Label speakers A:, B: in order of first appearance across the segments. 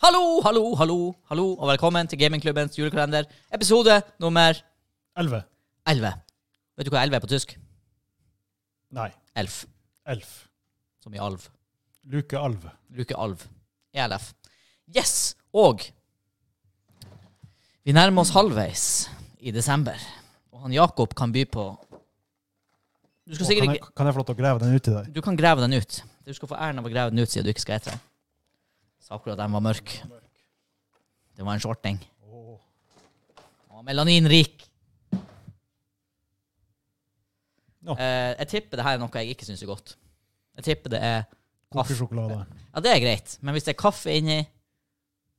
A: Hallo, hallo, hallo, hallo, og velkommen til Gamingklubbens julekalender, episode nummer
B: 11.
A: 11. Vet du hva 11 er på tysk?
B: Nei,
A: Elf,
B: elf.
A: som i alv.
B: Luke alv.
A: Luke alv. ELF. Yes! Og vi nærmer oss halvveis i desember, og han Jakob kan by på Du skal
B: Å, kan,
A: sikkert
B: jeg, kan jeg få lov til å grave den ut i deg?
A: ikke Du kan grave den ut. Du skal få æren av å grave den ut siden du ikke skal ete den. Så akkurat den var mørk. Det var en shorting. Og melaninrik.
B: Nå.
A: Eh, jeg tipper det her er noe jeg ikke syns er godt. Jeg tipper det er
B: Kokesjokolade.
A: Ja, det er greit, men hvis det er kaffe inni,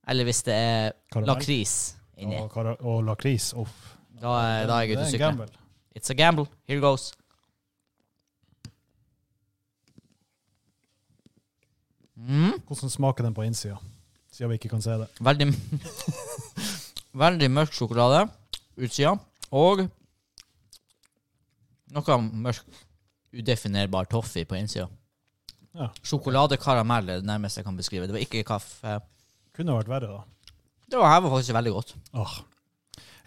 A: eller hvis det er
B: Karamell.
A: lakris inni,
B: Og, kara- og lakris. Uff.
A: da, er- da er jeg ute og
B: Det
A: sykler.
B: gamble.
A: It's a gamble. Here goes. Mm,
B: Hvordan smaker den på innsida? Siden vi ikke kan se det.
A: veldig Veldig mørk sjokolade utsida, og noe mørk, udefinerbar toffee på innsida.
B: Ja.
A: Sjokoladekaramell er det nærmeste jeg kan beskrive. Det var ikke kaffe.
B: Kunne vært verre, da.
A: Det var, her var faktisk veldig godt.
B: Åh.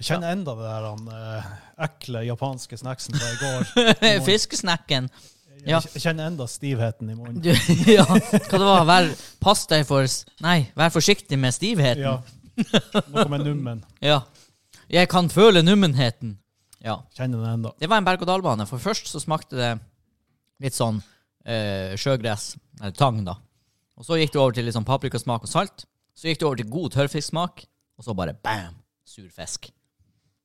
B: Jeg kjenner enda det der han, eh, ekle japanske snacksen fra i går.
A: Fiskesnekken.
B: Jeg,
A: Ja.
B: jeg kjenner enda stivheten i munnen.
A: Du, ja, hva det var? Vær, pass deg for s- Nei, vær forsiktig med stivheten.
B: Ja. Noe med nummen.
A: Ja. Jeg kan føle nummenheten. Ja.
B: Kjenner den enda.
A: Det var en berg-og-dal-bane. For først så smakte det litt sånn eh, sjøgress, eller tang, da. Og så gikk det over til litt sånn paprikasmak og salt. Så gikk det over til god tørrfisksmak, og så bare bam! Sur fisk.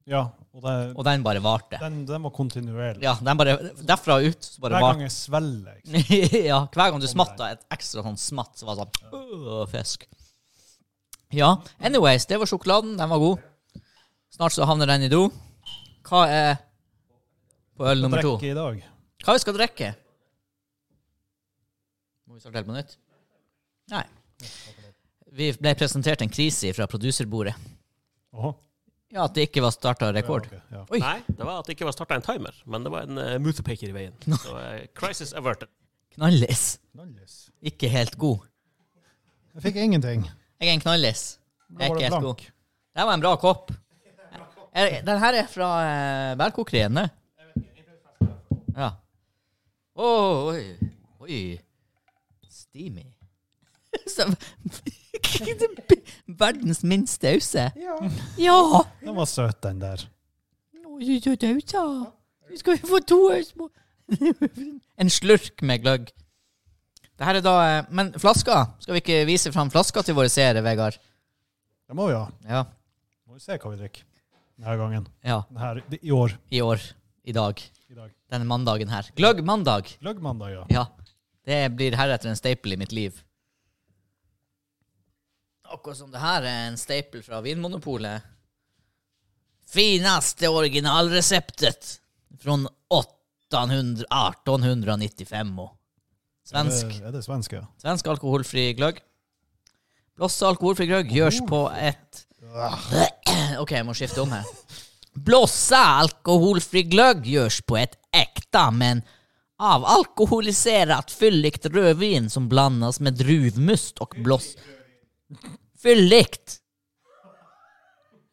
B: Ja, og det,
A: Og den bare varte.
B: den, den var kontinuerlig.
A: Ja, den bare Derfra og ut, så bare
B: Hver
A: varte
B: gang jeg svelger. ikke sant?
A: ja, hver gang du smatta et ekstra sånn smatt, så var det sånn «Åh, fisk. Ja, anyways, det var sjokoladen. Den var god. Snart så havner den i do. Hva er på øl nummer to?
B: Drikke i dag.
A: Hva vi skal drikke? Må vi starte helt på nytt? Nei. Vi ble presentert en krise fra produserbordet.
B: Åhå.
A: Ja, at det ikke var starta rekord.
B: Ja, ok, ja.
A: Oi.
C: Nei, det var at det ikke var starta en timer, men det var en uh, i veien. Så eh, crisis averted.
A: Knallis.
B: Knallis.
A: Ikke helt god.
B: Jeg fikk ingenting.
A: Jeg er en knallis. Jeg er
B: Da var
A: ikke
B: det
A: helt
B: blank.
A: god. Det var en bra kopp. Er- Den her er fra uh, bærkokeriene. Ja. Å, oi. Oi. Steamy. Så- Verdens minste ause.
B: Ja.
A: Ja!
B: Den var søt, den der.
A: Nå er du så død, da. Nå skal vi få to øl små En slurk med gløgg. Det her er da eh, Men flaska? Skal vi ikke vise fram flaska til våre seere, Vegard?
B: Det må vi ha.
A: Ja.
B: Må vi se hva vi drikker denne gangen.
A: ja.
B: Her, I år.
A: I år. I dag.
B: I dag.
A: Denne mandagen her. Gløgg mandag.
B: Gløggmandag, ja.
A: Ja. Det blir heretter en staple i mitt liv. Akkurat som det her er en staple fra Vinmonopolet. Finaste originalreseptet fra 800 1895. og
B: Er
A: Svensk.
B: det, er det svensk, ja?
A: Svensk alkoholfri gløgg. Blåse alkoholfri gløgg gjørs på et OK, jeg må skifte om her. Blåsa alkoholfri gløgg gjørs på et ekte, men avalkoholisert fyllikt rødvin som blandas med druvmust og blås... Fyllikt!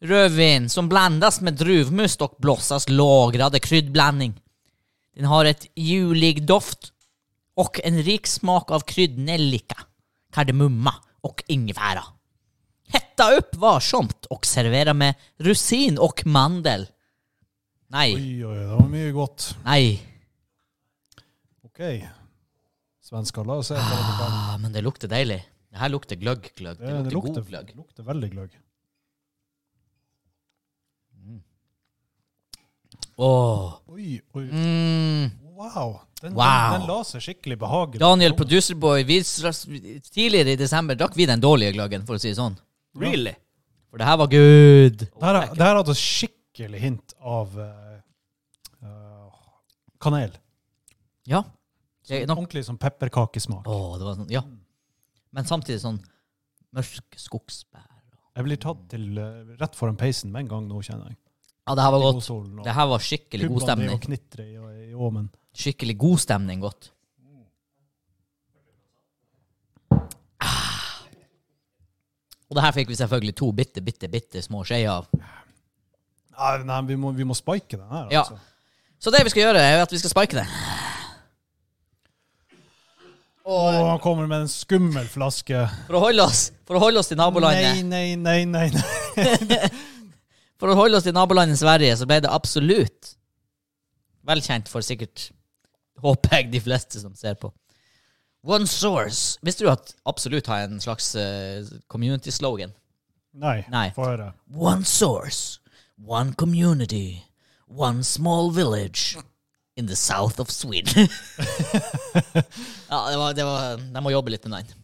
A: Rødvin som blandas med druvmust og blåsas lagrade kryddblandning. Den har et julig doft och en rik smak av kryddnellika, kardemumma och ingefära. Hetta upp varsomt och servera med rusin och mandel. Nej,
B: Oi, oi, oi, det var mye godt.
A: nej.
B: OK. Svensker, la oss se. hva det kan.
A: Ah, men det lukter deilig. Det her lukter gløgg, gløgg. Det
B: Det,
A: lukter,
B: det lukter,
A: god gløgg.
B: lukter veldig gløgg.
A: Åh.
B: Oi, oi.
A: Mm.
B: Wow. Den,
A: Wow.
B: Den, den la seg skikkelig behagelig.
A: Daniel, producerboy, vi, tidligere i desember drakk vi den dårlige gløggen, for å si det sånn.
C: Really?
A: For det her var good.
B: Det her, det her hadde skikkelig hint av eh, eh, kanel.
A: Ja. Det er nok
B: Ordentlig sånn pepperkakesmak.
A: Åh, det var sånn, ja. Men samtidig sånn mørk skogsbær.
B: Jeg blir tatt til eh, rett foran peisen med en gang nå, kjenner jeg.
A: Ja, det her var
B: I
A: godt.
B: godsolen, og
A: Det her var skikkelig god
B: kubbene driver
A: stemning.
B: og knitrer i, i åmen.
A: Skikkelig god stemning, godt. Ah. Og det her fikk vi selvfølgelig to bitte, bitte, bitte små skjeer av.
B: Nei, nei vi, må, vi må spike den her.
A: Ja.
B: Altså.
A: Så det vi skal gjøre, er jo at vi skal spike det.
B: Og
A: Og
B: han kommer med en skummel flaske.
A: for å holde oss, for å holde oss til nabolandet
B: Nei, nei, nei, nei. nei.
A: For å holde oss til nabolandet Sverige, så ble det absolutt velkjent for sikkert, håper jeg, de fleste som ser på. One source. Visste du at absolutt har en slags eh, community-slogan?
B: Nei,
A: Nei.
B: få høre.
A: One source, one community, one small village in the south of Sweden. ja, det var, det var, de må jobbe litt med den.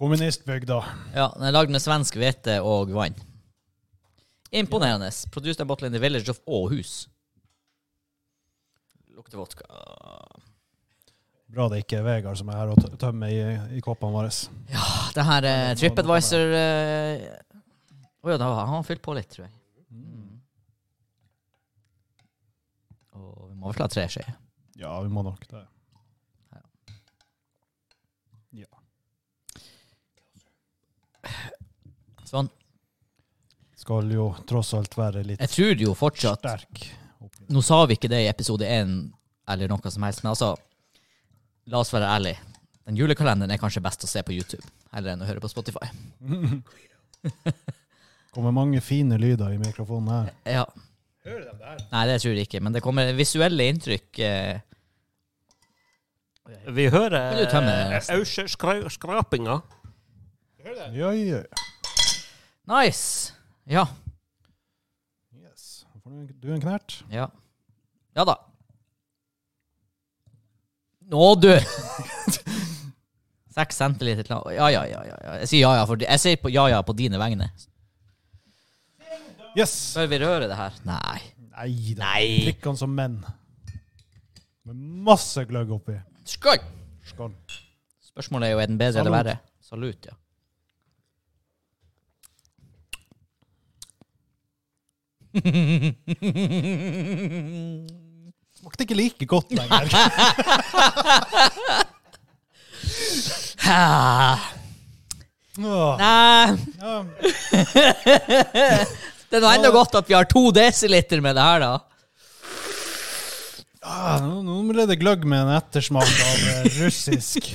B: Kommunistbygda.
A: Ja, den er lagd med svensk hvete og vann. Imponerende. Produced and bottled in the village of Åhus. Lukter vodka.
B: Bra det ikke er Vegard som er her og tø- tømmer i, i koppene våre.
A: Ah, Det her eh, TripAdvisor eh, Å ja, da har han fylt på litt, tror jeg. Og vi må vel ha tre skjeer.
B: Ja, vi må nok det. Ja.
A: Sånn.
B: Skal jo tross alt være litt
A: Jeg tror jo fortsatt
B: sterk. oppi-
A: Nå sa vi ikke det i episode 1 eller noe som helst, men altså La oss være ærlige. Den julekalenderen er kanskje best å se på YouTube heller enn å høre på Spotify.
B: Kommer mange fine lyder i mikrofonen her.
A: Ja.
B: Hører dem der?
A: Nei, det tror jeg ikke, men det kommer visuelle inntrykk. Eh,
C: Vi hører
A: Kan du tømme den
C: eh,
A: resten?
C: aurskrapinga.
B: Ja, ja.
A: nice! Ja.
B: Yes. Får du en- du en knert?
A: Ja. Ja da. Nå, du! Seks centiliter klar. Ja, ja, ja. ja. ja. Jeg sier ja, ja, for jeg sier på, ja, ja på dine vegne.
B: Yes!
A: Bør vi røre det her? Nei.
B: Nei da.
A: Nei.
B: Drikk han som menn. Med masse gløgg oppi.
A: Skål!
B: Skål.
A: Spørsmålet er jo er den bedre eller
B: Salut.
A: verre. Salut, ja.
B: Smakte ikke like godt lenger. Åh.
A: Nei,
B: Ja,
A: det er nå enda godt at vi har to desiliter med det her, da.
B: Ah, nå- nå ble det gløgg med en ettersmak av eh, russisk.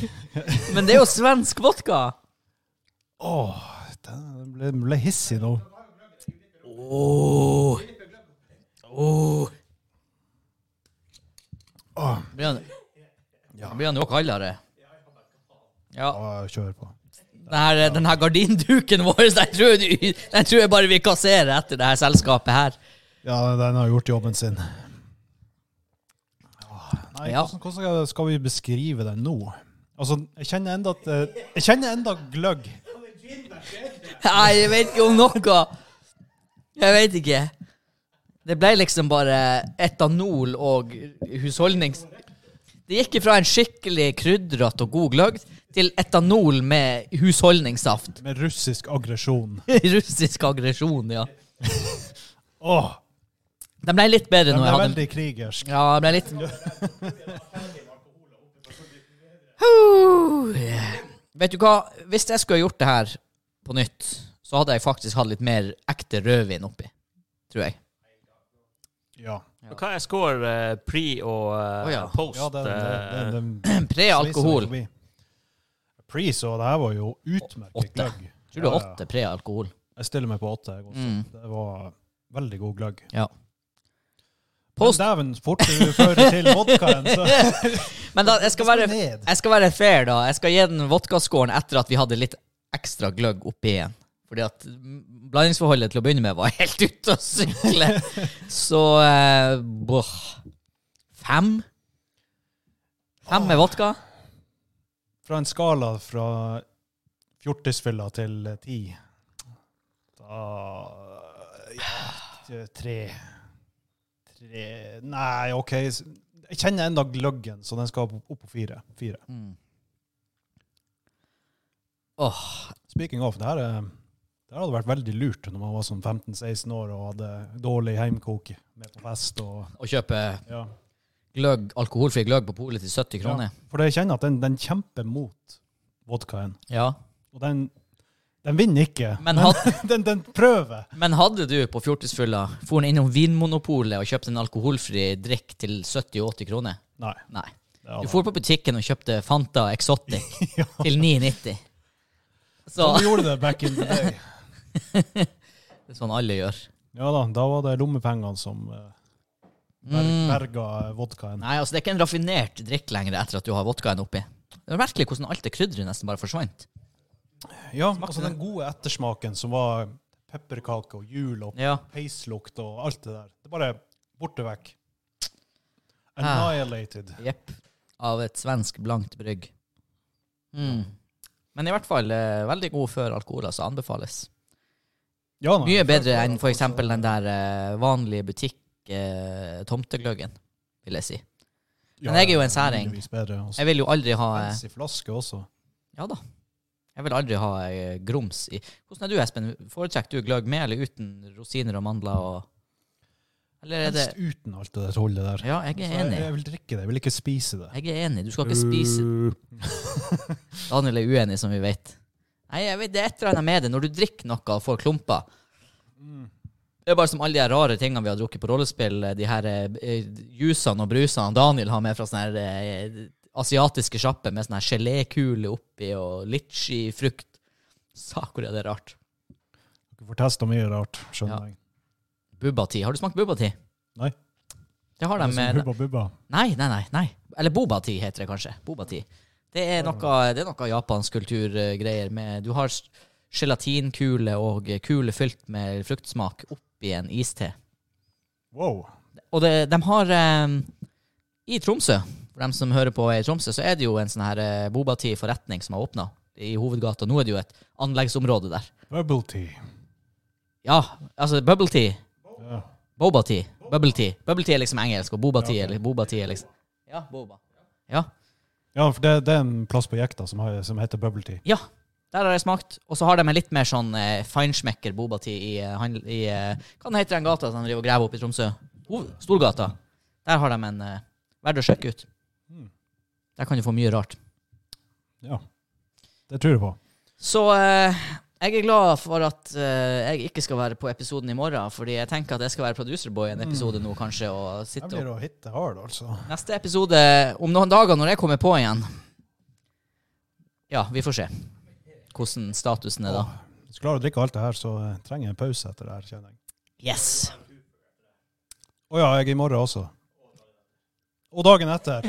A: Men det er jo svensk vodka.
B: Åh, den ble, ble hissig nå.
A: Blir han- Blir han jo kaldere? Ja.
B: Åh, kjør på.
A: Den her, den her gardinduken vår, den tror, jeg, den tror jeg bare vi kasserer etter det her selskapet her.
B: Ja, den har gjort jobben sin. Åh, Nei,
A: Ja.
B: hvordan, hvordan skal- skal vi beskrive den nå? Altså, jeg kjenner enda at eh, Jeg kjenner enda gløgg.
A: Nei, jeg vet ikke om noe. Jeg vet ikke. Det ble liksom bare etanol og husholdnings... Det gikk fra en skikkelig krydret og god gløgg til etanol med husholdningssaft.
B: Med russisk aggresjon.
A: Russisk aggresjon, ja.
B: Åh,
A: Den ble litt bedre
B: den
A: når
B: ble
A: jeg hadde
B: veldig krigersk.
A: Ja, jeg ble litt Huh, yeah. Vet du hva, hvis jeg skulle ha gjort det her på nytt, så hadde jeg faktisk hatt litt mer ekte rødvin oppi. Tror jeg.
B: Ja.
C: Hva er score eh, pre og eh,
A: Å ja.
C: post?
B: ja den, den, den, den
A: Pre-alkohol.
B: sviser meg forbi. Pre, så det her var jo utmerket
A: Åtte.
B: gløgg.
A: Tror du
B: Ja, ja.
A: åtte pre-alkohol?
B: Jeg stiller meg på åtte. Jeg også.
A: Mm.
B: Det var veldig god gløgg.
A: Ja.
B: Men
A: Post.
B: dæven, fort du fører til vodkaen, så
A: Men da, jeg skal være,
B: ned.
A: jeg skal være fair, da. Jeg skal gi den vodkascoren etter at vi hadde litt ekstra gløgg oppi igjen. Fordi at mm, blandingsforholdet til å begynne med var helt ute å sykle. Så eh, boh. Fem? Fem med vodka?
B: Fra en skala fra fjortisfylla til eh, ti Da ja, tre. tre Nei, OK. s- Jeg kjenner enda gløggen, så den skal opp opp på fire. fire.
A: Åh,
B: Speaking of, det her, er- det her hadde vært veldig lurt når man var sånn 15-16 år og hadde dårlig heimkok med på fest. og...
A: Å kjøpe
B: Ja.
A: gløgg, alkoholfri gløgg på polet til 70 kroner.
B: For jeg kjenner at den, den kjemper mot vodkaen.
A: Ja.
B: Og den, Den vinner ikke.
A: Men, had,
B: Den, den prøver.
A: men hadde du på fjortisfylla foren innom Vinmonopolet og kjøpt en alkoholfri drikk til 70-80 kroner?
B: Nei.
A: Nei.
B: det hadde
A: Du for på butikken og kjøpte Fanta Exotic til 9,90. Så
B: Sånn vi gjorde det back in the day.
A: det er sånn alle gjør.
B: Ja da, da var det lommepengene som eh, berg,
A: Mm.
B: berga eh, vodkaen.
A: Nei, altså det er ikke en raffinert drikk lenger etter at du har vodkaen oppi. Det er merkelig hvordan alt det krydderet nesten bare forsvant.
B: Ja, altså den gode ettersmaken som var pepperkake og jul og
A: Ja.
B: peislukt og alt det der. Det er bare borte vekk.
A: Ah.
B: Annihilated.
A: Jepp. Av et svensk blankt brygg. Mm. Men i hvert fall eh, veldig god før alkohol, altså. Anbefales.
B: Ja, nei,
A: Mye
B: jeg
A: bedre
B: føler
A: enn
B: at-
A: for eksempel den der eh, vanlige butikk-tomtegløggen, vil jeg si.
B: Ja,
A: Men jeg er jo en
B: altså- ja,
A: særing.
B: mye Bedre, og så
A: Jeg vil jo aldri ha eh,
B: fancy flaske også.
A: Ja da. Jeg vil aldri ha eh, grums i Hvordan er du, Espen? Foretrekker du gløgg med eller uten rosiner og mandler og Eller er det
B: Helst uten alt det der holdet der.
A: Ja, jeg
B: Så
A: er
B: jeg,
A: enig.
B: jeg vil drikke det, jeg vil ikke spise det.
A: Jeg er enig. Du skal ikke spise
B: Øh.
A: Daniel er uenig, som vi vet. Nei, jeg vet, Det er et eller annet med det når du drikker noe og får klumper.
B: Mm.
A: Det er bare som alle de her rare tingene vi har drukket på rollespill. eh, De her eh, eh, jusene og brusene Daniel har med fra sånne her eh, asiatiske sjapper med sånne her gelékule oppi og litchi-frukt. Sakura, det er rart.
B: Du får testa mye rart, skjønner
A: Ja.
B: jeg.
A: Bubba-ti. Har du smakt bubba-ti?
B: Nei.
A: Det har de
B: Det er som
A: med
B: Hubba Bubba.
A: Nei, nei, nei. nei. Eller Boba-ti heter det kanskje. Boba-ti. Det er noe, det er noe japansk kulturgreier med Du har s- gelatinkule og kule fylt med fruktsmak oppi en iste.
B: Wow.
A: Og det, de har eh, I Tromsø, for dem som hører på i Tromsø, så er det jo en sånn her eh, Boba-ti-forretning som har åpna i hovedgata. Nå er det jo et anleggsområde der.
B: Bubble tea.
A: Ja, altså bubble-tea.
B: Ja.
A: Boba tea. Bubble tea. Bubble tea er liksom engelsk, og boba tea er, li- boba tea er liksom Ja, boba. Ja.
B: Ja, for det, det er en plass på Jekta som, har, som heter Bubble Tea.
A: Ja, der har jeg smakt. Og så har de en litt mer sånn eh, feinschmecker boba tea i, eh, handel- i eh, Hva den heter den gata som de driver og graver opp i Tromsø? Hov- Storgata. Der har de en eh, verdt å sjekke ut. Hmm. Der kan du få mye rart.
B: Ja. Det tror jeg på.
A: Så eh, jeg er glad for at eh, jeg ikke skal være på episoden i morgen, fordi jeg tenker at jeg skal være producerboy i en episode nå, kanskje, og
B: Jeg
A: sitte
B: blir
A: og
B: å hitte hard, altså.
A: Neste episode om noen dager, når jeg kommer på igjen Ja, vi får se hvordan statusen er da.
B: Hvis du klarer å drikke alt det her, så eh, trenger jeg en pause etter det her, kjenner jeg.
A: Yes.
B: Å ja, jeg er i morgen også. Og dagen etter.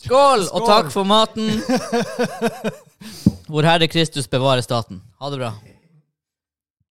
A: Skål, og
B: Skål.
A: takk for maten. Vår Herre Kristus bevare staten. Ha det bra.